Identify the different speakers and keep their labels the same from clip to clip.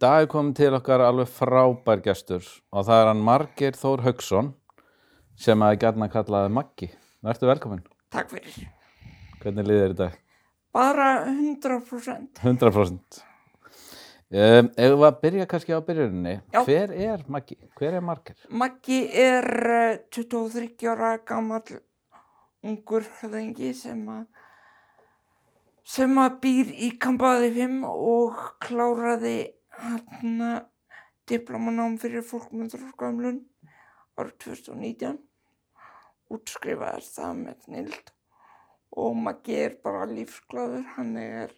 Speaker 1: dag er komin til okkar alveg frábær gestur og það er hann Margeir Þór Haugsson sem að gerna kallaði Maggi. Vertu velkominn.
Speaker 2: Takk fyrir.
Speaker 1: Hvernig líður þér í dag?
Speaker 2: Bara 100%.
Speaker 1: 100%. Um, ef við að byrja kannski á byrjuninni,
Speaker 2: Já.
Speaker 1: hver er Maggi? Hver er Margeir?
Speaker 2: Maggi er eh, 23 ára gamall ungur höfðingi sem að sem að býr í kampaði 5 og kláraði hann diplomanám fyrir fólk með þróskamlun árið 2019 útskrifaðist það með snild og Maggi er bara lífsglaður hann er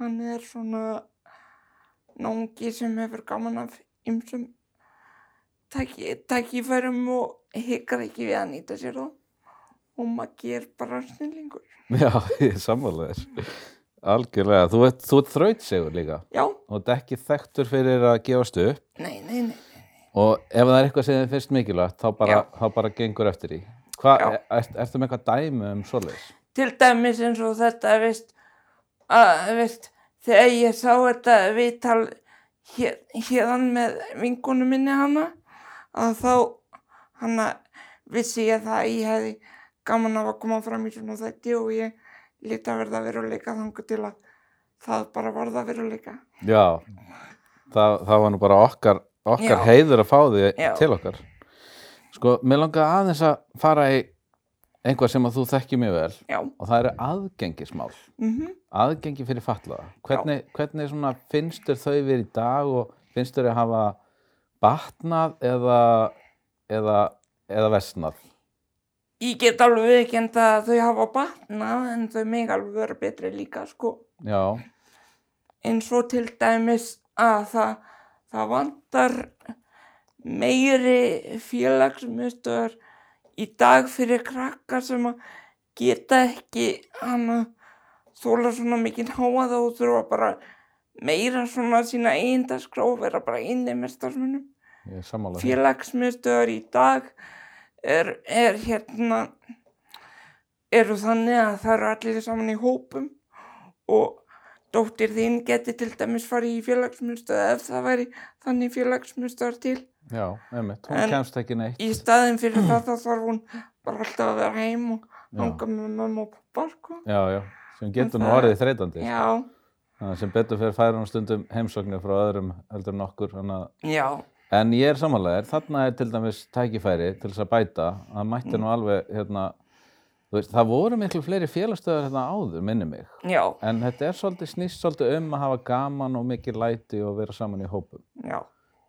Speaker 2: hann er svona náungi sem hefur gaman af ymsum tæki, tækifærum og hikkar ekki við að nýta sér það og Maggi er bara snillingur.
Speaker 1: Já, ég er sammála þér. Algjörlega. Þú ert, þú ert þrautsegur líka
Speaker 2: Já,
Speaker 1: og þetta ekki þekktur fyrir að gefast upp
Speaker 2: nei, nei, nei.
Speaker 1: og ef það er eitthvað sem þið finnst mikilvægt þá bara,
Speaker 2: Já.
Speaker 1: þá bara gengur eftir því. Hva,
Speaker 2: Já.
Speaker 1: er, ertu með eitthvað dæmi um svoleiðis?
Speaker 2: Til dæmis eins og þetta, veist, að, veist, þegar ég sá þetta viðtal hér, hérðan með vinkonu minni hana, að þá hana vissi ég það að ég hefði gaman af að koma fram í svona þætti og ég lítið að verða veruleika þangu til að það bara varða veruleika.
Speaker 1: Já, það, það var nú bara okkar, okkar
Speaker 2: Já.
Speaker 1: heiður að fá því
Speaker 2: Já.
Speaker 1: til okkar. Sko, mér langaði aðeins að fara í einhvað sem að þú þekkir mjög vel
Speaker 2: Já,
Speaker 1: og það eru aðgengismál,
Speaker 2: mhm.
Speaker 1: aðgengi fyrir fatlaða. Hvernig, hvernig svona finnstur þau verið í dag og finnstur að hafa batnað eða, eða, eða vestnað?
Speaker 2: Ég get alveg viðkend að þau hafa batnað en þau mig alveg vera betri líka sko.
Speaker 1: Já,
Speaker 2: Eins og til dæmis að það, það vantar meiri félagsmyndstöðar í dag fyrir krakka sem að geta ekki hann að þóla svona mikinn háaða og þurfa bara meira svona sína eigindagskrá og vera bara inni með starfsmunum
Speaker 1: ég er sammála því.
Speaker 2: félagsmiðstöðar í dag er, er hérna eru þannig að það eru allir saman í hópum og dóttir þín geti til dæmis farið í félagsmiðstöð ef það væri þannig félagsmiðstöðar til
Speaker 1: Já, einmitt, hún
Speaker 2: En-
Speaker 1: kemst ekki neitt.
Speaker 2: í staðin fyrir það þá þarf hún bara alltaf að vera heim og hanga með mamma og pappa sko.
Speaker 1: Já, já, sem getur nú
Speaker 2: það-
Speaker 1: orðið þreytandi. sko.
Speaker 2: já,
Speaker 1: Þannig að sem betur fyrir færum stundum heimsóknir frá öðrum heldur en okkur. þannig að-
Speaker 2: já,
Speaker 1: En ég er samanlegaðir, þarna er til dæmis tækifæri til þess að bæta. Það mætti nú alveg, hérna, þú veist, það voru miklu fleiri félagstöðar hérna áður, minni mig.
Speaker 2: já,
Speaker 1: En þetta er svolítið snýst svolítið um að hafa gaman og mikið læti og vera saman í hópum.
Speaker 2: já,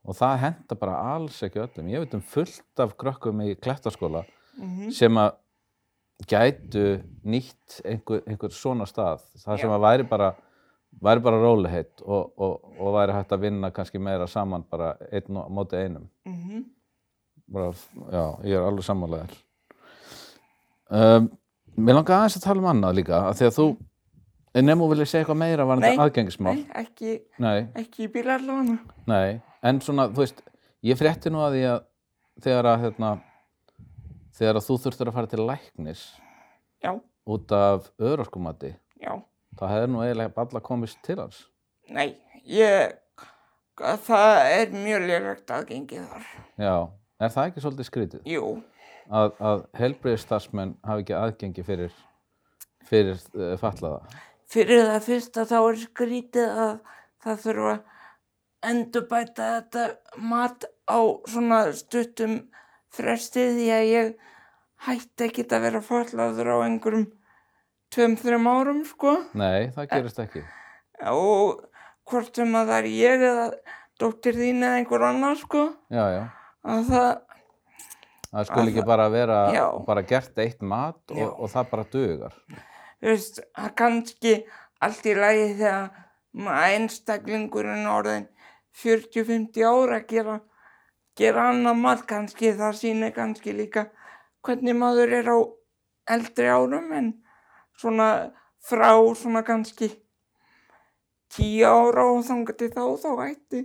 Speaker 1: Og það henda bara alls ekki öllum. Ég veit um fullt af krökkum í klettaskóla
Speaker 2: mhm,
Speaker 1: sem að gætu nýtt einhver, einhver svona stað það sem
Speaker 2: Já.
Speaker 1: að væri bara væri bara róliheit og, og, og væri hægt að vinna kannski meira saman bara einn og á móti einum
Speaker 2: mhm,
Speaker 1: bara, já, ég er alveg sammálaðir um, Mér langar aðeins að tala um annað líka af því að þú, en nefnum vilja segja eitthvað meira var
Speaker 2: Nei,
Speaker 1: þetta aðgengismál
Speaker 2: nei, ekki,
Speaker 1: nei,
Speaker 2: ekki í bílarlóna
Speaker 1: nei, en svona, þú veist ég frétti nú að því að þegar að, hérna, þegar að þú þurftur að fara til læknis
Speaker 2: já,
Speaker 1: út af örorkumati
Speaker 2: já
Speaker 1: það hefði nú eiginlega bara komist til hans
Speaker 2: Nei, ég, það er mjög lélegt aðgengið þar.
Speaker 1: já, er það ekki svolítið skrítið
Speaker 2: Jú,
Speaker 1: að, að helbriðstarfsmenn hafi ekki aðgengi fyrir fyrir uh, fatlaða
Speaker 2: fyrir það fyrsta þá er skrítið að það þurfa að endurbæta þetta mat á svona stuttum fresti því að ég hætti ekki að vera fallaður á einhverjum tveim, þreim árum, sko.
Speaker 1: nei, það gerist ekki
Speaker 2: Og hvort sem að það er ég eða dóttir þín eða einhver annar, sko,
Speaker 1: já, já,
Speaker 2: að það,
Speaker 1: það skulle
Speaker 2: Að
Speaker 1: ekki
Speaker 2: það-
Speaker 1: bara vera
Speaker 2: Já.
Speaker 1: bara gert eitt mat
Speaker 2: Já.
Speaker 1: og, og það bara dugar
Speaker 2: þú veist, það er kannski allt í lagi þegar maður einstaklingurinn orðin 40-50 ára að gera, gera annað mat kannski, það sýnir kannski líka hvernig maður er á eldri árum en svona frá svona kannski 10 ára og þangar til þá þá ætti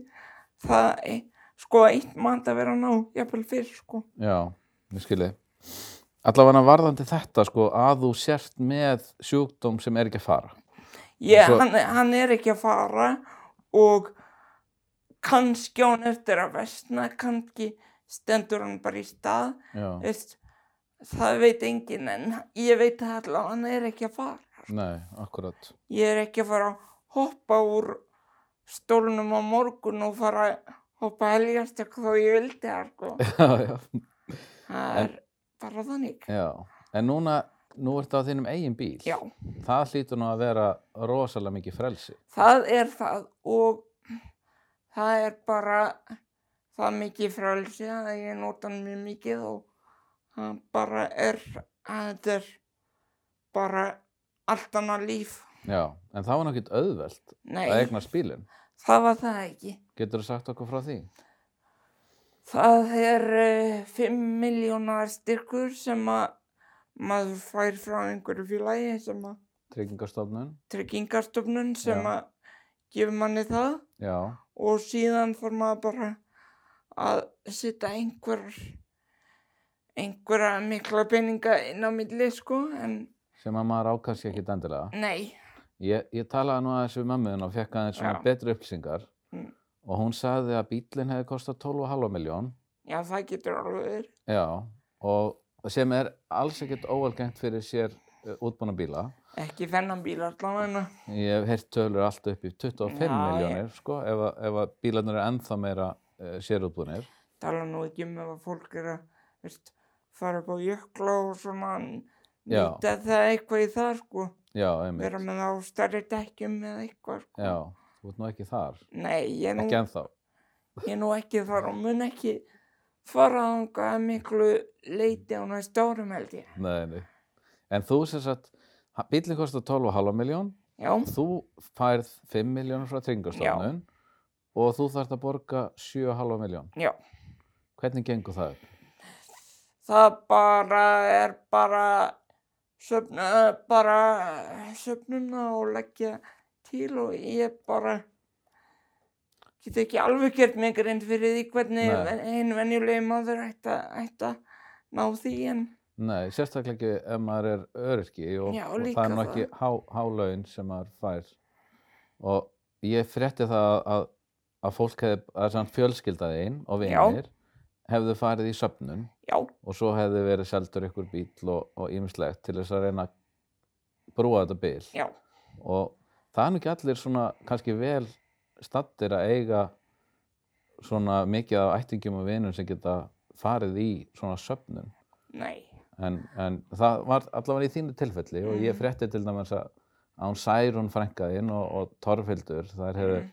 Speaker 2: það e- sko eitt mat að vera að ná, jafnvel fyrr sko.
Speaker 1: já, ég skilji allavega varðandi þetta sko að þú sért með sjúkdóm sem er ekki að fara
Speaker 2: Ég,
Speaker 1: Svo-
Speaker 2: hann, hann er ekki að fara og kannski á hann eftir að vestna, kannski stendur hann bara í stað,
Speaker 1: já,
Speaker 2: veist, það veit enginn en ég veit það allavega, hann er ekki að fara.
Speaker 1: nei, akkurat
Speaker 2: Ég er ekki að fara að hoppa úr stólnum á morgun og fara að hoppa helgast ekki þó ég vildi það, sko.
Speaker 1: já, já,
Speaker 2: Það
Speaker 1: En-
Speaker 2: er bara þannig.
Speaker 1: já en núna, nú ertu á þínum eigin bíl
Speaker 2: Já,
Speaker 1: það hlýtur nú að vera rosalega mikið frelsi
Speaker 2: það er það og það er bara það mikið frelsi að ég nota hann mjög mikið og það bara er að þetta er bara allt annað líf.
Speaker 1: já, en það var nú ekkert auðvelt
Speaker 2: Nei,
Speaker 1: að eignast bílinn
Speaker 2: það var það ekki.
Speaker 1: getur þú sagt okkur frá því?
Speaker 2: Það er uh, 5 miljónar styrkur sem að maður fær frá einhverju félagi sem að
Speaker 1: Tryggingastofnun?
Speaker 2: tryggingarstofnun sem
Speaker 1: Já.
Speaker 2: að gefur manni það.
Speaker 1: já,
Speaker 2: og síðan fór maður bara að setja einhverjar einhverja mikla peninga inn á milli sko en
Speaker 1: sem að maður ákast ekki endilega
Speaker 2: nei,
Speaker 1: Ég, ég talaði nú aðeins við mömmuðin og fekk aðeins svona
Speaker 2: Já.
Speaker 1: betri upplýsingar
Speaker 2: Mm.
Speaker 1: og hún sagði að bílinn hefði kostað 12,5 miljón
Speaker 2: já það getur alveg verið
Speaker 1: já, og sem er alls ekkert óalgengt fyrir sér uh, útbúna bíla
Speaker 2: ekki þennan bíl allavega
Speaker 1: ég hef heyrt tölur allt upp í 25
Speaker 2: Já,
Speaker 1: miljónir sko, ef, að- ef að bílarnir eru ennþá meira uh, sérútbúnir
Speaker 2: tala nú ekki um ef að fólk er að veist, fara upp á jökla og svona
Speaker 1: Já.
Speaker 2: nýta það eitthvað í það sko
Speaker 1: já, einmitt,
Speaker 2: vera með það á starri dekkjum eða eitthvað sko
Speaker 1: já, þú ert nú ekki þar
Speaker 2: nei, ég er nú
Speaker 1: ekki ennþá,
Speaker 2: ég nú ekki þar og mun ekki fara að einhverja miklu leiti á næstu árum held ég
Speaker 1: nei, nei en þú sem sagt, ha- bílinn kostað 12,5 miljón
Speaker 2: já
Speaker 1: þú færð 5 miljónur frá tryggingastofnun og þú þarft að borga 7,5 miljón.
Speaker 2: Já,
Speaker 1: Hvernig gengur það? upp?
Speaker 2: það bara er bara söfna, bara eh, söfnuna og leggja til og ég bara get ekki alveg gert mig reynd fyrir því hvernig
Speaker 1: Nei.
Speaker 2: ven- hinn venjulegi maður ætti að- ætti að ná því en
Speaker 1: Nei, sérstaklega ekki ef maður er öryrki og,
Speaker 2: Já,
Speaker 1: og það
Speaker 2: líka
Speaker 1: er nú
Speaker 2: það.
Speaker 1: ekki há, hálaun sem maður fær. Og ég frétti það að, að fólk hefði, að samt fjölskyldað einn og
Speaker 2: Já.
Speaker 1: vinir hefðu farið í söfnun
Speaker 2: já,
Speaker 1: og svo hefði verið seldur ykkur bíl og, og ýmislegt til þess að reyna að brúa þetta bíl.
Speaker 2: já,
Speaker 1: og það er nú ekki allir svona kannski vel stattir að eiga svona mikið af ættingjum og vinum sem geta farið í svona söfnun
Speaker 2: nei,
Speaker 1: en, en það var allavega í þínu tilfelli og ég
Speaker 2: Mhm.
Speaker 1: frétti til dæmis að að hún Særún frænkaðinn og, og Torfildur þær
Speaker 2: Mm.
Speaker 1: hefur,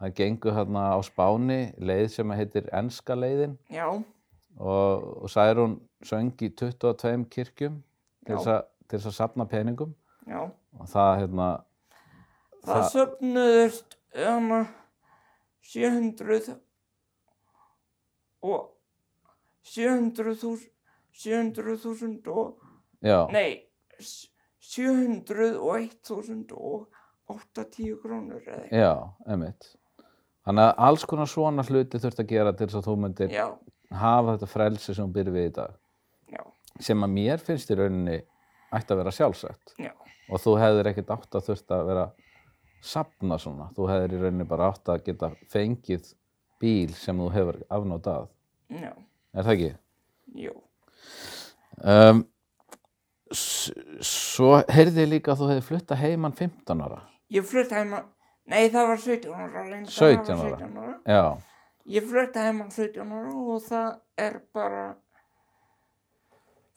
Speaker 1: það gengu hérna á Spáni leið sem að heitir Enska leiðin
Speaker 2: já,
Speaker 1: og, og Særún söng í 22 kirkjum til
Speaker 2: Já.
Speaker 1: þess að- til þess að safna peningum
Speaker 2: já.
Speaker 1: og það hérna
Speaker 2: Það
Speaker 1: Það-
Speaker 2: söfnuðust um 700 og 700.000 700.000 og,
Speaker 1: já,
Speaker 2: nei, s- 701.080 krónur eða eitthvað.
Speaker 1: Já, einmitt. Þannig að alls konar svona hluti þurft að gera til þess að þú myndir
Speaker 2: Já,
Speaker 1: hafa þetta frelsi sem hún byrði við í dag.
Speaker 2: já,
Speaker 1: Sem að mér finnst í rauninni ætti að vera sjálfsagt.
Speaker 2: já,
Speaker 1: Og þú hefðir ekkert átt að þurft að vera sapna svona. Þú hefðir í rauninni bara átt að geta fengið bíl sem þú hefur afnótað.
Speaker 2: já,
Speaker 1: Er það ekki?
Speaker 2: jú,
Speaker 1: Um, s- svo heyrði ég líka að þú hefði flutta heimann 15 ára.
Speaker 2: ég flutt heima, nei það var 17 ára, reyndar, það
Speaker 1: 17
Speaker 2: var
Speaker 1: ára.
Speaker 2: 17 ára.
Speaker 1: Já,
Speaker 2: Ég flytti heim á 17 ára og það er bara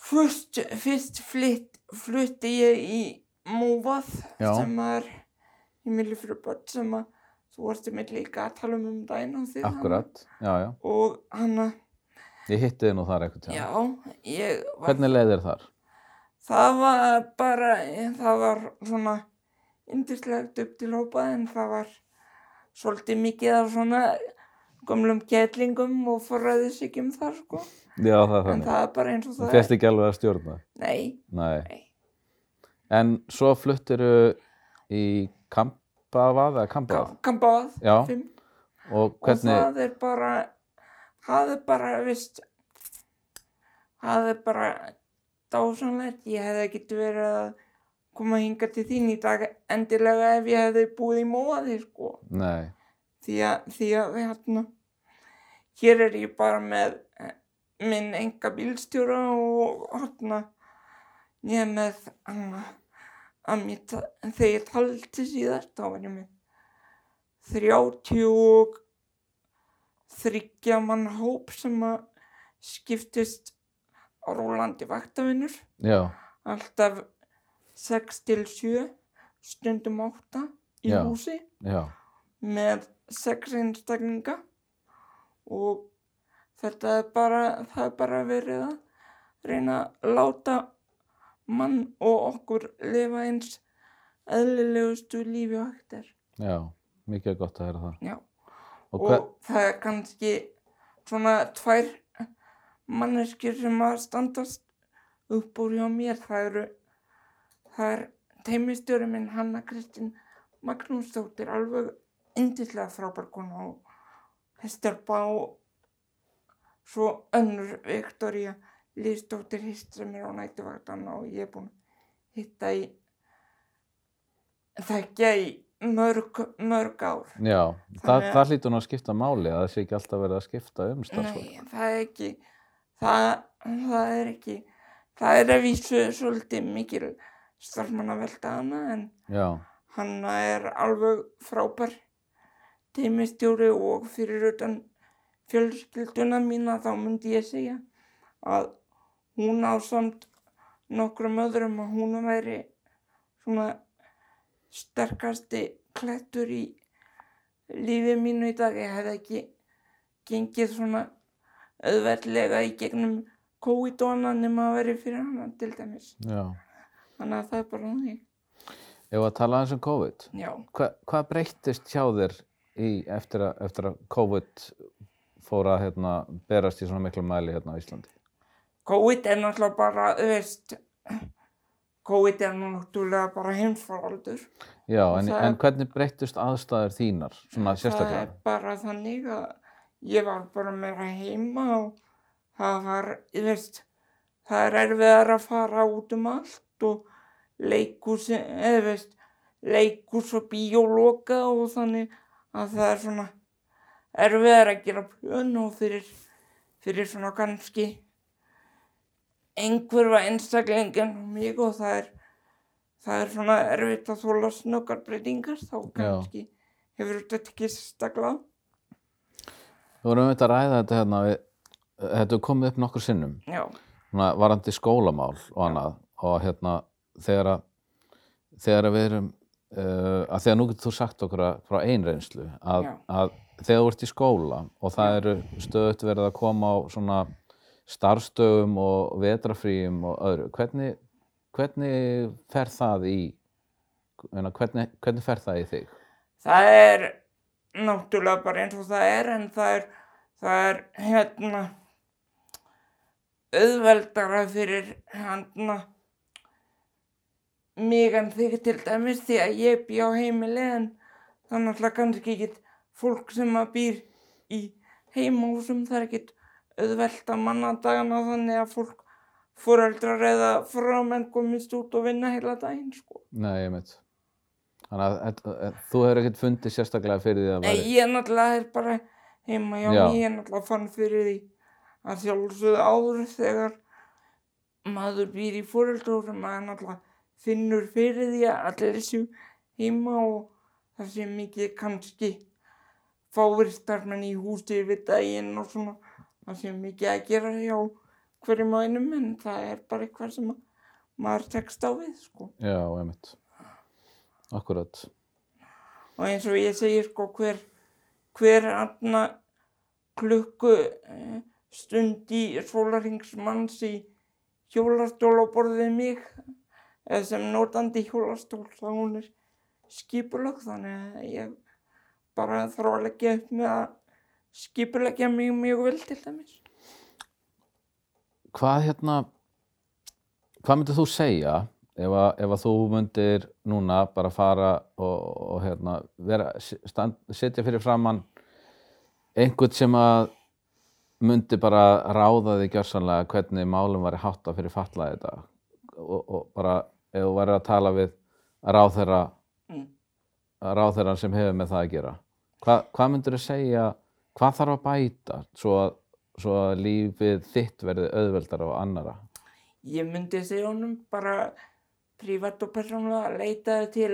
Speaker 2: fyrst, fyrst flytt, flytti ég í Móvað
Speaker 1: Já.
Speaker 2: sem er heimili fyrir börn sem að þú varst með líka að tala um um daginn og því
Speaker 1: akkurat. Já, já.
Speaker 2: og hann að,
Speaker 1: Ég hitti þið nú þar eitthvað til.
Speaker 2: já, ég var,
Speaker 1: Hvernig leiðir þar?
Speaker 2: það var bara, það var svona yndislegt upp til hópað en það var svolítið mikið af svona gömlum gætlingum og forræðis ekki um það sko.
Speaker 1: Já, það er
Speaker 2: En
Speaker 1: þannig.
Speaker 2: það er bara eins og
Speaker 1: Þú
Speaker 2: það
Speaker 1: fjast ekki alveg að stjórna.
Speaker 2: Nei,
Speaker 1: Nei.
Speaker 2: Nei.
Speaker 1: En svo fluttiru í Kampavad eða Kampavad.
Speaker 2: Kambáð
Speaker 1: Já.
Speaker 2: fimm.
Speaker 1: Og
Speaker 2: Og
Speaker 1: hvernig,
Speaker 2: það er bara, það er bara, veist, það er bara dásanlegt. Ég hefði ekkert verið að koma hinga til þín í dag endilega ef ég hefði búið í móði, sko.
Speaker 1: nei,
Speaker 2: því að, því að hérna, hér er ég bara með eh, minn enga bílstjóra og hérna, ég er með hérna, að mér, ta- þegar ég taldi síðar þá var ég með 33 mann hóp sem að skiptist á rólandi vaktavinnur
Speaker 1: já,
Speaker 2: alltaf 6 til 7 stundum 8 í
Speaker 1: Já.
Speaker 2: húsi
Speaker 1: já,
Speaker 2: með 6 einstaklinga og þetta er bara það er bara verið að reyna að láta mann og okkur lifa eins eðlilegustu lífi og hægt er
Speaker 1: já, mikið er gott að heyra það.
Speaker 2: Já.
Speaker 1: Og,
Speaker 2: og
Speaker 1: hver,
Speaker 2: það er kannski svona tvær manneskir sem að standast upp úr hjá mér það eru það er teimistjóri minn Hanna Kristín Magnúsdóttir alveg yndislega frábær kona og Hestelbá svo önnur Viktoria Lýsdóttir hýst sem er á nætuvaktan og ég er búin að hitta í þekkja í mörg, mörg ár
Speaker 1: já, það,
Speaker 2: Þannig að-
Speaker 1: það hlýtur nú að skipta máli að það sé ekki alltaf verið að skipta um starfsfólk.
Speaker 2: Nei, það er ekki það, það er ekki það er að vísu svolítið mikil starfmann að velta hana en
Speaker 1: Já,
Speaker 2: hanna er alveg frábær teimistjóri og fyrir utan fjölskylduna mína þá myndi ég segja að hún á samt nokkrum öðrum að hún væri svona sterkasti klættur í lífi mínu í dag ég hef ekki gengið svona auðveldlega í gegnum COVID-19 nema að veri fyrir hana til dæmis
Speaker 1: já.
Speaker 2: þannig að það er bara hún
Speaker 1: Ef að tala eins um COVID,
Speaker 2: já
Speaker 1: Hva, hvað breyttist hjá þér í, eftir, að, eftir að COVID fór að hérna, berast í svona miklu mæli hérna á Íslandi?
Speaker 2: COVID er náttúrulega bara, þú veist, COVID er náttúrulega bara heimsfaraldur.
Speaker 1: Já, en,
Speaker 2: Það-
Speaker 1: en hvernig breyttust aðstæður þínar, svona
Speaker 2: Það
Speaker 1: sérstaklega?
Speaker 2: er bara þannig að ég var bara meira heima og það var, þú veist, það er erfiðar að fara út um allt og leikús, eða þú veist, leikús og bíóloka og þannig að það er svona erfiðar að gera plön og fyrir, fyrir svona kannski einhverfa einstaklingin og mig og það er það er svona erfitt að þóla snöggar breytingar þá kannski hefur þetta ekki stakla
Speaker 1: Þú vorum auðvitað að ræða þetta hérna, við, þetta hefur komið upp nokkur sinnum,
Speaker 2: já,
Speaker 1: svona varandi skólamál og annað og hérna þegar að, þegar að við erum, uh, að þegar nú getur þú sagt okkur að, frá einreynslu að,
Speaker 2: Já.
Speaker 1: að þegar þú ert í skóla og það eru stöðut verið að koma á svona starfstöfum og vetrafríum og öðru, hvernig, hvernig fer það í, ég meina, hvernig, hvernig fer það í þig?
Speaker 2: það er náttúrulega bara eins og það er en það er, það er hérna auðveldara fyrir hérna mig en þig til dæmis því að ég bý á heimili en það er náttúrulega kannski ekkit fólk sem að býr í heimhúsum það er ekkit auðvelt að manna dagana þannig að fólk fóreldrar eða frámenn komist út og vinna heila daginn sko.
Speaker 1: Nei, ég veit. Þannig að þetta- að þú hefur ekkert fundið sérstaklega fyrir því að
Speaker 2: Nei, ég er náttúrulega er bara heima hjá
Speaker 1: Já.
Speaker 2: mér, ég er náttúrulega fann fyrir því að sjálfsögðu áður þegar maður býr í fóreldur og maður náttúrulega finnur fyrir því að allir séu heima og það sé mikið kannski fáir starfmenn í húsi við daginn og svona það sé mikið að gera hjá hverjum á einum en það er bara eitthvað sem að maður tekst á við sko.
Speaker 1: Já, einmitt. Akkurat.
Speaker 2: og eins og ég segir sko hver hver anna klukku eh, stund í sólarhingsmanns í hjólastól á borðið mig eða sem notandi hjólastól þá hún er skipulag þannig að ég bara þarf að leggja upp með að skipulegja mig mjög vel til dæmis.
Speaker 1: Hvað hérna, hvað myndir þú segja ef að, ef að þú myndir núna bara fara og, og hérna, vera, stand, setja fyrir framann einhvern sem að myndi bara ráða því gjörsanlega hvernig málum var hátta fyrir fatlaði þetta og, og bara ef þú væri að tala við ráðherra,
Speaker 2: Mm.
Speaker 1: ráðherran sem hefur með það að gera. Hva, hvað myndur þú segja, hvað þarf að bæta svo að, svo að lífið þitt verði auðveldar á annara?
Speaker 2: Ég myndi segja honum bara prívat og persónulega leitaðu til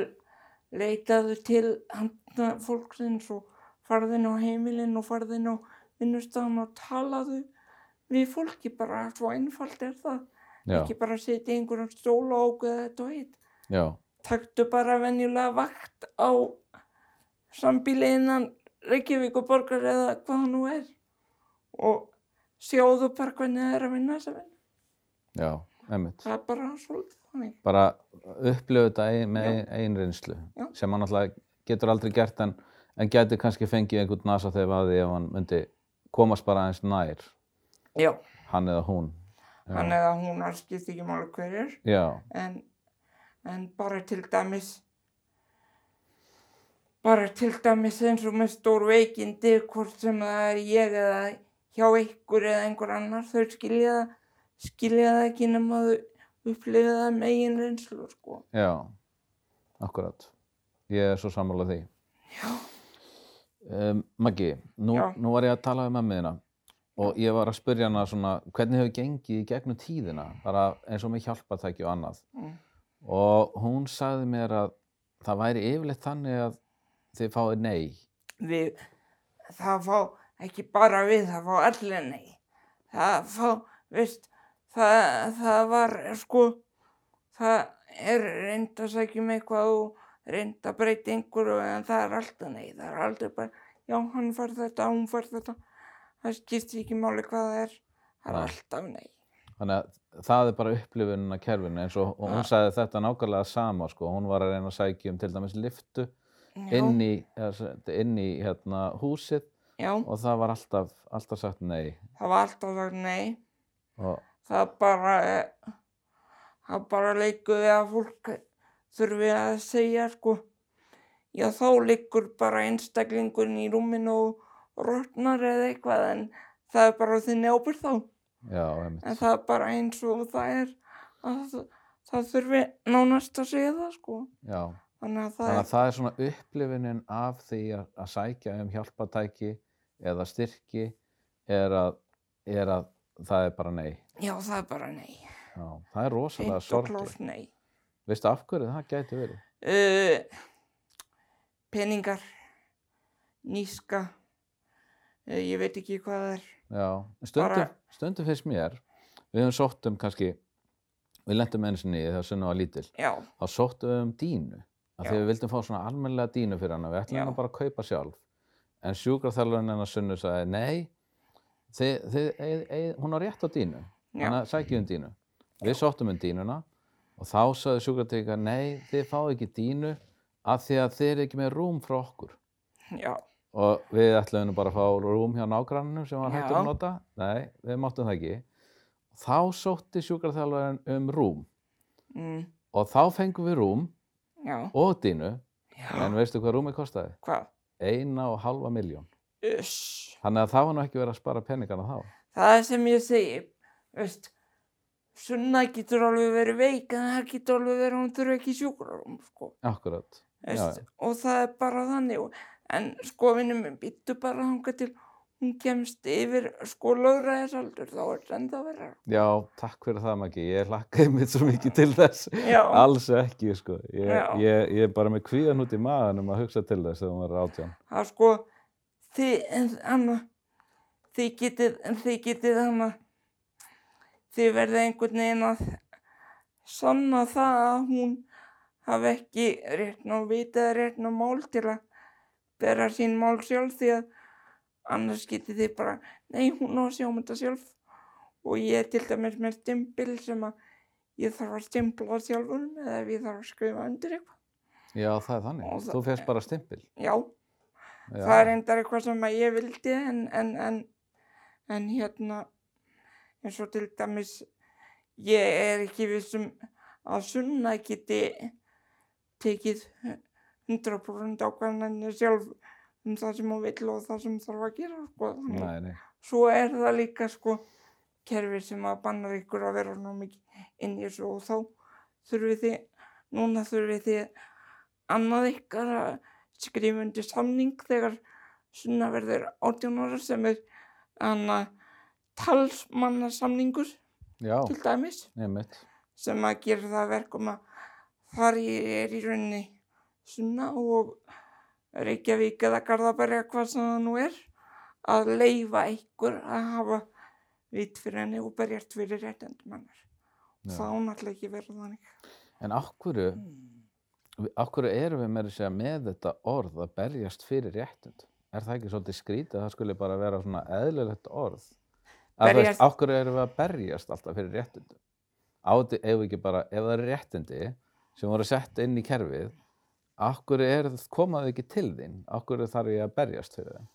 Speaker 2: leitaðu til handa fólksins og farðin á heimilin og farðin á vinnustafan og talaðu við fólki bara svo einfalt er það
Speaker 1: Já,
Speaker 2: ekki bara setja í einhverjum stóla og ákveða þetta og hitt
Speaker 1: já,
Speaker 2: taktu bara venjulega vakt á sambíli innan Reykjavík og borgar eða hvað það nú er og sjáðu bara hvernig það er að vinna þessa vinnu
Speaker 1: já, emmitt.
Speaker 2: það er bara svolítið þannig
Speaker 1: Bara upplöfu þetta ein, með
Speaker 2: Já.
Speaker 1: ein, ein reynslu
Speaker 2: Já.
Speaker 1: sem hann alltaf getur aldrei gert en, en getur kannski fengið einhvern nasa þegar að því ef hann myndi komast bara aðeins nær,
Speaker 2: já,
Speaker 1: hann eða hún. Já,
Speaker 2: hann eða hún er skipt ekki máli hverjur
Speaker 1: já,
Speaker 2: en, en bara til dæmis bara til dæmis eins og með stór veikindi hvort sem það er ég eða hjá ykkur eða einhver annar þau skilja það skilja það ekki nema þau upplifa það með eigin reynslu sko.
Speaker 1: já, akkurat. Ég er svo sammála því. Um, Maggi, nú,
Speaker 2: Já.
Speaker 1: nú var ég að tala um ömmuðina og ég var að spyrja hana svona, hvernig hefur gengið í gegnum tíðina, bara eins og með hjálpatæki og annað.
Speaker 2: Mm.
Speaker 1: Og hún sagði mér að það væri yfirleitt þannig að þið fáið nei.
Speaker 2: við það fá ekki bara við það fá allir nei það fá, veist það, það var sko það er reynd að sækja með eitthvað og reynd að breyta einhverju en það er alltaf nei það er aldrei bara, já hann fær þetta hún fær þetta, það skiptir ekki máli hvað það er,
Speaker 1: Nei.
Speaker 2: það er alltaf nei
Speaker 1: Þannig að það er bara upplifunina kerfinu eins og, og hún
Speaker 2: Ja.
Speaker 1: sagði þetta nákvæmlega sama sko. Hún var að reyna að sækja um til dæmis liftu
Speaker 2: já,
Speaker 1: inn í, eða sem- inn í hérna, húsið
Speaker 2: já,
Speaker 1: og það var alltaf, alltaf sagt nei.
Speaker 2: það var alltaf sagt nei
Speaker 1: Og,
Speaker 2: það bara eh, það bara leikur við að fólk þurfi að segja sko já þá leikur bara einstaklingurinn í rúminu og rotnar eða eitthvað en það er bara á þinni ábyrð þá en
Speaker 1: já, einmitt.
Speaker 2: það er bara eins og það er að það, það þurfi nánast að segja það sko
Speaker 1: Já.
Speaker 2: þannig að það
Speaker 1: Þannig að það er svona upplifunin af því að, að sækja um hjálpatæki eða styrki er að, er að það er bara nei.
Speaker 2: er já það er bara nei
Speaker 1: Já, það er rosalega
Speaker 2: Hreint og
Speaker 1: sorgli.
Speaker 2: klárt nei
Speaker 1: Veistu af hverju það gæti verið?
Speaker 2: uh, peningar níska uh, ég veit ekki hvað það er
Speaker 1: Já, en stundum,
Speaker 2: Bara-
Speaker 1: stundum finnst mér, við höfum sótt um kannski, við lentum einu sinni í þegar sunna var lítil,
Speaker 2: já
Speaker 1: þá sóttum við um dínu. Af því
Speaker 2: Já.
Speaker 1: við vildum fá svona almennilega dínu fyrir hana, við ætlum
Speaker 2: Já.
Speaker 1: hana bara að kaupa sjálf. En sjúkraþjálfurinn hennar sunnu sagði, nei, þið, þið, eð, eð, hún á rétt á dínu.
Speaker 2: Já,
Speaker 1: þannig að sækja um dínu við sóttum um dínuna og þá sagði sjúkratryggingar nei, þið fáið ekki dínu af því að þið eru ekki með rúm frá okkur
Speaker 2: já,
Speaker 1: og við ætluðum nú bara að fá rúm hjá nágrannum sem var hægt
Speaker 2: Já.
Speaker 1: að nota nei, við máttum það ekki þá sótti sjúkraþjálfarinn um rúm
Speaker 2: mm,
Speaker 1: og þá fengum við rúm
Speaker 2: já,
Speaker 1: og dínu
Speaker 2: já,
Speaker 1: en veistu hvað rúmið kostaði?
Speaker 2: hvað?
Speaker 1: eina og halva miljón
Speaker 2: Uss,
Speaker 1: þannig að það var nú ekki verið að spara peningana þá
Speaker 2: það er sem ég segi, veist, sunna getur alveg verið veik, en það getur alveg verið, að hún þurfi ekki sjúkrarum, sko,
Speaker 1: akkurat,
Speaker 2: veist,
Speaker 1: Já, já.
Speaker 2: og það er bara þannig, og- en sko, vinnum minn býttu bara þangað til, hún kemst yfir, sko, lögræðisaldur, þá er þetta enda verið,
Speaker 1: já, takk fyrir það Maggi ég hlakkaði mitt svo mikið til þess
Speaker 2: já,
Speaker 1: Alls ekki, sko. Ég,
Speaker 2: Já.
Speaker 1: ég, ég er bara með kvíðan út í maðan um að hugsa til þess þegar maður er átján.
Speaker 2: það er sko, þið, en, anna, þið getið, en þið getið, anna, þið verðið einhvern veginn að sanna það að hún hafi ekki réttn á vita eða réttn á mál til að bera sín mál sjálf því að annars getið þið bara, nei, hún á að sjá um þetta sjálf og ég er til dæmis með stimpil sem að ég þarf að stimpla sjálfur með ef ég þarf að skrifa undir eitthvað.
Speaker 1: Já, það er þannig.
Speaker 2: Og það-
Speaker 1: Þú férst bara stimpil.
Speaker 2: Já.
Speaker 1: Já.
Speaker 2: Það er reyndar eitthvað sem að ég vildi en, en, en, en hérna eins og til dæmis ég er ekki vissum að sunna geti tekið 100% ákvæðanir sjálf um það sem hún vill og það sem þarf að gera sko. Þannig að
Speaker 1: Nei, nei.
Speaker 2: svo er það líka sko kerfi sem að bannar ykkur að vera nú mikið inn í þessu og þá þurfið þið, núna þurfið þið annað ykkar að skrifa undir samning þegar sunnaverður 18 ára sem er hana talsmannasamningur
Speaker 1: já,
Speaker 2: til dæmis
Speaker 1: nefnitt.
Speaker 2: sem að gera það að verkum að þar ég er í rauninni sunna og Reykjavík eða Garðabæri eða hvað sem það nú er að leifa einhver að hafa vitt fyrir henni og berjart fyrir réttendum hennar.
Speaker 1: Já.
Speaker 2: Það á náttúrulega ekki verið þannig.
Speaker 1: En okkur, okkur erum við með, segja, með þetta orð að berjast fyrir réttund? Er það ekki svolítið skrítið að það skulle bara vera svona eðlilegt orð?
Speaker 2: Berjast.
Speaker 1: Okkur erum við að berjast alltaf fyrir réttundum? Átti, ef, við ekki bara, ef það eru réttindi sem voru sett inn í kerfið, okkur er, komaðu ekki til þín? Okkur þarf ég að berjast fyrir það?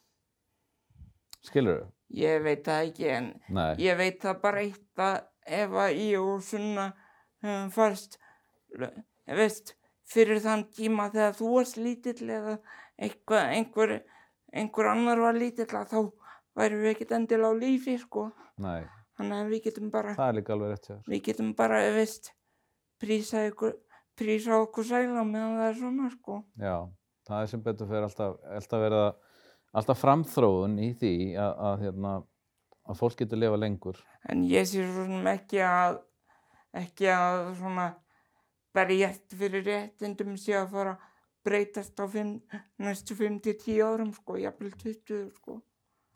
Speaker 1: Skilur þú?
Speaker 2: Ég veit það ekki en
Speaker 1: Nei.
Speaker 2: ég veit það bara eitt að ef að ég og Sunna um, fannst veist, fyrir þann tíma þegar þú varst lítill eða eitthvað, einhver, einhver annar var lítill að þá værum við ekkert endilega á lífi sko
Speaker 1: Nei,
Speaker 2: þannig að við getum bara
Speaker 1: það er líka alveg rétt hjá þér.
Speaker 2: við getum bara veist prísa ykkur prísa okkur sæla meðan það er svona sko
Speaker 1: Já, það er sem betur fyrir alltaf, alltaf verið að, alltaf framþróun í því að, að, hérna, að fólk getur lifa lengur.
Speaker 2: en ég sé svo sem ekki að ekki að svona berjast fyrir réttindum sé að fara að breytast á fimm, næstu 5-10 árum sko, jafnvel 20 sko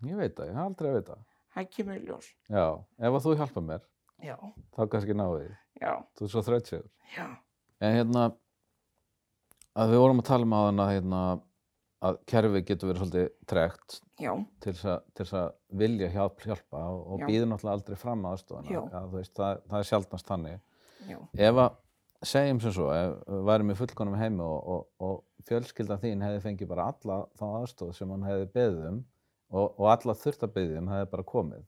Speaker 1: Ég veit það, ég hef aldrei að veit það.
Speaker 2: það kemur í ljós
Speaker 1: Já, ef að þú hjálpar mér,
Speaker 2: já,
Speaker 1: þá kannski náðu því.
Speaker 2: já,
Speaker 1: Þú er svo þrautsjöður.
Speaker 2: já,
Speaker 1: En hérna, að við vorum að tala um á að, hérna, að kerfið getur verið svolítið tregt
Speaker 2: já,
Speaker 1: til þess að- til þess að vilja hjálp, hjálpa og, og
Speaker 2: Já.
Speaker 1: býður náttúrulega aldrei fram aðstofana.
Speaker 2: Já.
Speaker 1: Að, þú veist, það, það er sjaldnast þannig.
Speaker 2: já,
Speaker 1: ef að segjum sem svo, ef við værum í fullkonum heimi og, og, og fjölskyldan þín hefði fengið bara alla þá aðstóð sem hann hefði beðið um og, og alla þurft að beðið um hefði bara komið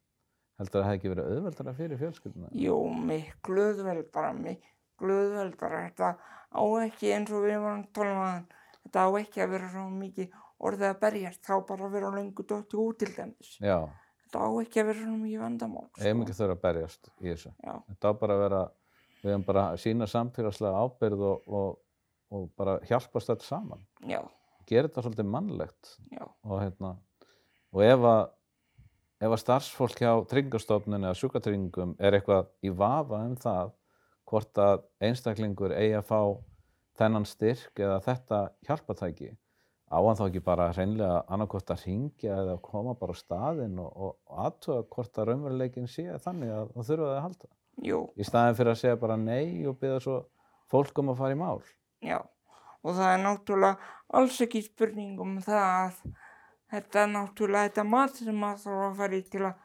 Speaker 1: heldur það hefði ekki verið auðveldara fyrir fjölskylduna
Speaker 2: jú, miklu öðveldara miklu öðveldara þetta á ekki eins og við varum tólumaðan um þetta á ekki að vera svo mikið orðið að berjast, þá bara að vera löngu dótti út til dæmis
Speaker 1: já,
Speaker 2: þetta á ekki að vera svona mikið vandamál
Speaker 1: eigum ekki þurfa að berjast í þessu
Speaker 2: já,
Speaker 1: þetta á bara að vera, við hefum bara að sína samfélagslega ábyrð og, og, og bara hjálpast þetta saman
Speaker 2: sko. já,
Speaker 1: gera þetta svolítið mannlegt
Speaker 2: já
Speaker 1: og hérna og ef að ef að starfsfólk hjá tryggingastofnun eða sjúkatryggingum er eitthvað í vafa um það hvort að einstaklingur eigi að fá þennan styrk eða þetta hjálpatæki á hann þá ekki bara hreinlega annarkvort að ringja eða koma bara á staðinn og, og, og aðtuga hvort að raunveruleikin sé þannig að það þurfa það að halda
Speaker 2: Jú,
Speaker 1: í staðin fyrir að segja bara nei og byrja svo fólk um að fara í mál
Speaker 2: já. Og það er náttúrulega alls ekki spurning um það að þetta er náttúrulega þetta mat sem maður þarf að fara í til að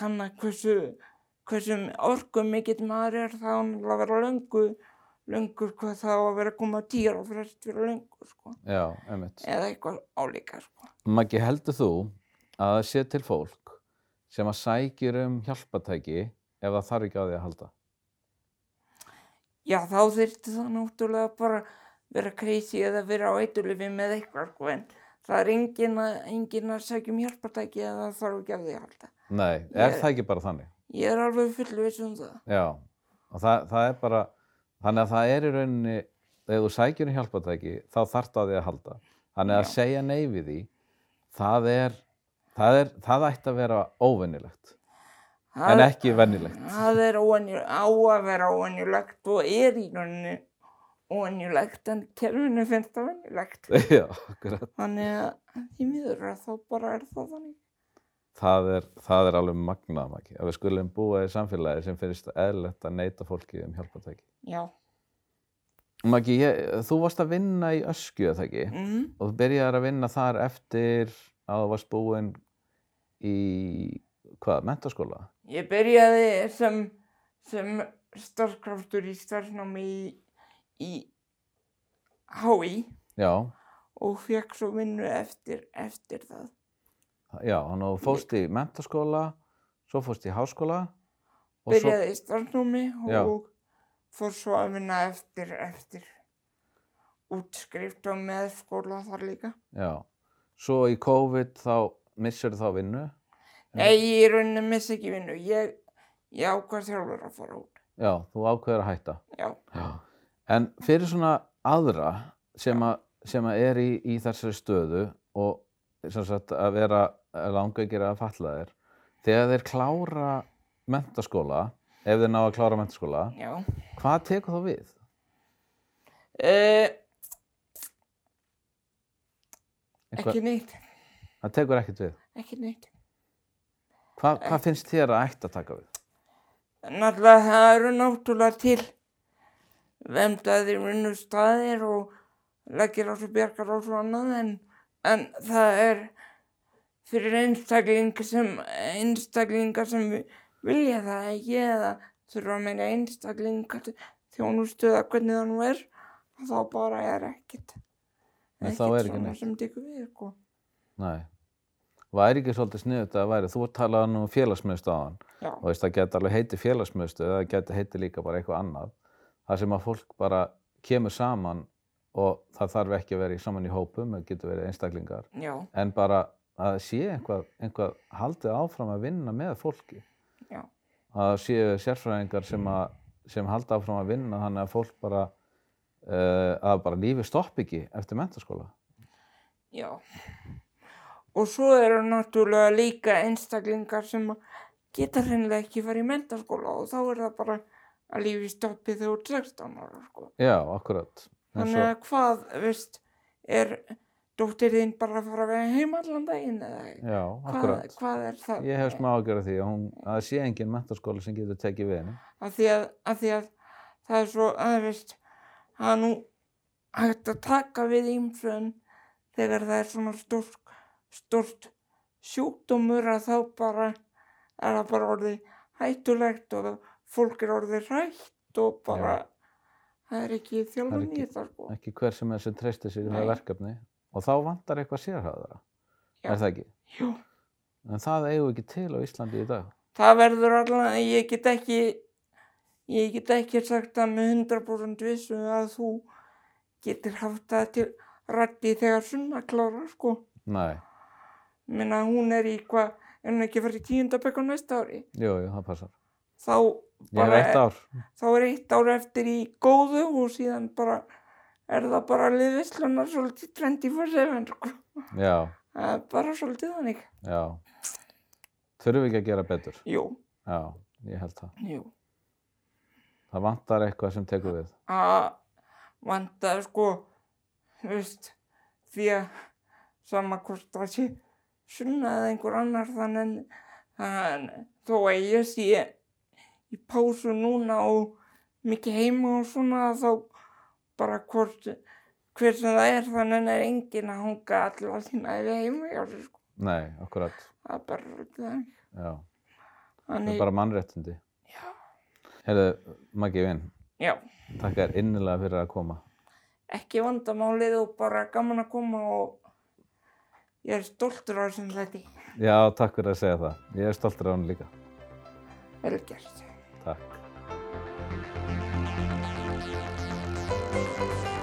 Speaker 2: kanna hversu, hversu orku mikill maður er það á náttúrulega að vera löngu, löngu hvað það á að vera að koma tíra og frest fyrir löngu, sko.
Speaker 1: já, einmitt
Speaker 2: Eða eitthvað álíka, sko.
Speaker 1: Maggi, heldur þú að það sé til fólk sem að sækjur um hjálpatæki ef það þarf ekki á því að halda?
Speaker 2: Já, þá þyrfti það náttúrulega bara vera crazy eða vera á eitulöfi með eitthvað, sko, en það er engin að, engin að sækjum hjálpartæki eða það þarf ekki af því að halda.
Speaker 1: Nei, er
Speaker 2: Ég-
Speaker 1: það ekki bara þannig?
Speaker 2: Ég er alveg fullviss um það.
Speaker 1: Já, og það, það er bara, þannig að það er í rauninni, ef þú sækjur um hjálpatæki, þá þarf það á því að halda. Þannig að
Speaker 2: Já.
Speaker 1: segja nei við því, það er, það er, það ætti að vera óvennilegt, en ekki vennilegt.
Speaker 2: Það er óanjulegt, á að vera óanjulegt og er í rauninni óanjulegt en kerfinu finnst það venjulegt.
Speaker 1: Já, akkurat.
Speaker 2: Þannig að því miður að þá bara er það þannig.
Speaker 1: það er, það er alveg magnað, Maggi, að við skulum búa í samfélagi sem finnst eðlilegt að neyta fólki um hjálpatæki.
Speaker 2: Já.
Speaker 1: Maggi, ég, þú varst að vinna í Öskju, eða ekki?
Speaker 2: Mm.
Speaker 1: Og þú byrjaðir að vinna þar eftir að þú varst búinn í, hvað, mentaskóla?
Speaker 2: Ég byrjaði sem, sem starfkraftur í starfnámi í, í HÍ
Speaker 1: Já,
Speaker 2: og fekk svo vinnu eftir, eftir það.
Speaker 1: já, hann og þú fórst í mentaskóla, svo fórst í háskóla og svo,
Speaker 2: byrjaði í starfnúmi
Speaker 1: Já.
Speaker 2: og fór svo að vinna eftir, eftir útskrift og með skóla þar líka.
Speaker 1: já, svo í COVID þá missur þá vinnu.
Speaker 2: Nei, ég í rauninni missi ekki vinnu. Ég, ég ákvað sjálfur að fara út.
Speaker 1: Já, þú ákveður að hætta.
Speaker 2: Já,
Speaker 1: Já. En fyrir svona aðra sem að, sem að er í, í þessari stöðu og, sem sagt, að vera langveikir að falla þér þegar þeir klára mentaskóla ef þeir ná að klára mentaskóla
Speaker 2: já.
Speaker 1: hvað tekur þá við?
Speaker 2: Uh,
Speaker 1: Eitthvað-
Speaker 2: ekki neitt,
Speaker 1: það tekur ekkert við
Speaker 2: ekki neitt.
Speaker 1: Hva, hvað finnst þér að ætti að taka við?
Speaker 2: Náttúrulega það eru náttúrulega til vemdaði vinnustæðir og leggir á svo bjargar og svo annað en, en það er fyrir einstakling sem, einstaklinga sem vi- vilja það ekki eða þurfa meira einstaklinga til þjónustu eða hvernig það nú er þá bara er ekkit
Speaker 1: Nei, þá er ekki
Speaker 2: svona
Speaker 1: neitt.
Speaker 2: sem tekur við sko.
Speaker 1: Nei væri ekki svolítið sniðut að væri þú talaði nú um félagsmiðstöðan
Speaker 2: Já,
Speaker 1: og veist það geti alveg heiti félagsmiðstöð eða það geti heiti líka bara eitthvað annað það sem að fólk bara kemur saman og það þarf ekki að vera í saman í hópum það getur verið einstaklingar
Speaker 2: já,
Speaker 1: en bara að sé einhvað, einhvað haldið áfram að vinna með fólki
Speaker 2: já,
Speaker 1: að séu sérfræðingar sem, að, sem halda áfram að vinna þannig að fólk bara uh, að bara lífi stopp ekki eftir mentaskóla
Speaker 2: já. Og svo eru náttúrulega líka einstaklingar sem að geta hreinlega ekki farið í mentaskóla og þá er það bara að lífi stoppið þegar þú ert 16 ára, sko.
Speaker 1: já, akkurat en
Speaker 2: Þannig
Speaker 1: svo,
Speaker 2: að hvað, veist, er dóttir þín bara að fara að vera heim allan daginn eða
Speaker 1: já,
Speaker 2: hvað,
Speaker 1: akkurat
Speaker 2: hvað er það?
Speaker 1: ég hef smá ágjörð af því að, hún, að það sé engin mentaskóla sem getur tekið við henni
Speaker 2: Af því að, af því að það er svo, að veist, það er nú hægt að taka við ýmsum þegar það er svona stórt, stórt sjúkdómur að þá bara er það bara orðið hættulegt og fólk er orðið hrætt og bara það er ekki
Speaker 1: Það er
Speaker 2: þjálfun í
Speaker 1: ekki-
Speaker 2: þetta sko.
Speaker 1: ekki hver sem er sem treystir sér í
Speaker 2: Nei.
Speaker 1: það verkefni og þá vantar eitthvað sérhæðara
Speaker 2: Já.
Speaker 1: er það ekki?
Speaker 2: Jú,
Speaker 1: en það eigum við ekki til á Íslandi í dag
Speaker 2: það verður allan, ég get ekki, ég get ekki sagt það með 100% vissu að þú getur haft það til rætti þegar sunna klárar sko.
Speaker 1: nei,
Speaker 2: minna hún er í hvað, er hún ekki að fara í tíundabökk á næsta ári?
Speaker 1: jú, jú, það passar
Speaker 2: Þá,
Speaker 1: ég er
Speaker 2: Bara- e-
Speaker 1: eitt ár
Speaker 2: þá er eitt ár eftir í góðu og síðan bara er það bara liðvislunar svolítið 24-7 sko.
Speaker 1: já,
Speaker 2: Það er bara svolítið þannig.
Speaker 1: já þurfum við ekki að gera betur
Speaker 2: Jú,
Speaker 1: já, ég held það
Speaker 2: jú.
Speaker 1: það vantar eitthvað sem tekur við
Speaker 2: að vantaði sko, þú veist, því að sama hvort það sé sunnaði einhver annar þannig að þó að ég sé í pásu núna og mikið heima og svona þá bara hvort hver sem það er þannig er enginn að hanga allar sína eða heima hjá sér sko.
Speaker 1: nei, akkurat
Speaker 2: Það er bara svolítið þannig.
Speaker 1: já, það
Speaker 2: Þannig,
Speaker 1: er bara mannréttindi
Speaker 2: Já.
Speaker 1: heyrðu, Maggi Vinn
Speaker 2: já,
Speaker 1: takk þér innilega fyrir að koma
Speaker 2: ekki vandamálið og bara gaman að koma og ég er stoltur á þessum þetta.
Speaker 1: já, takk fyrir að segja það ég er stoltur á hann líka
Speaker 2: Vel gert.
Speaker 1: takk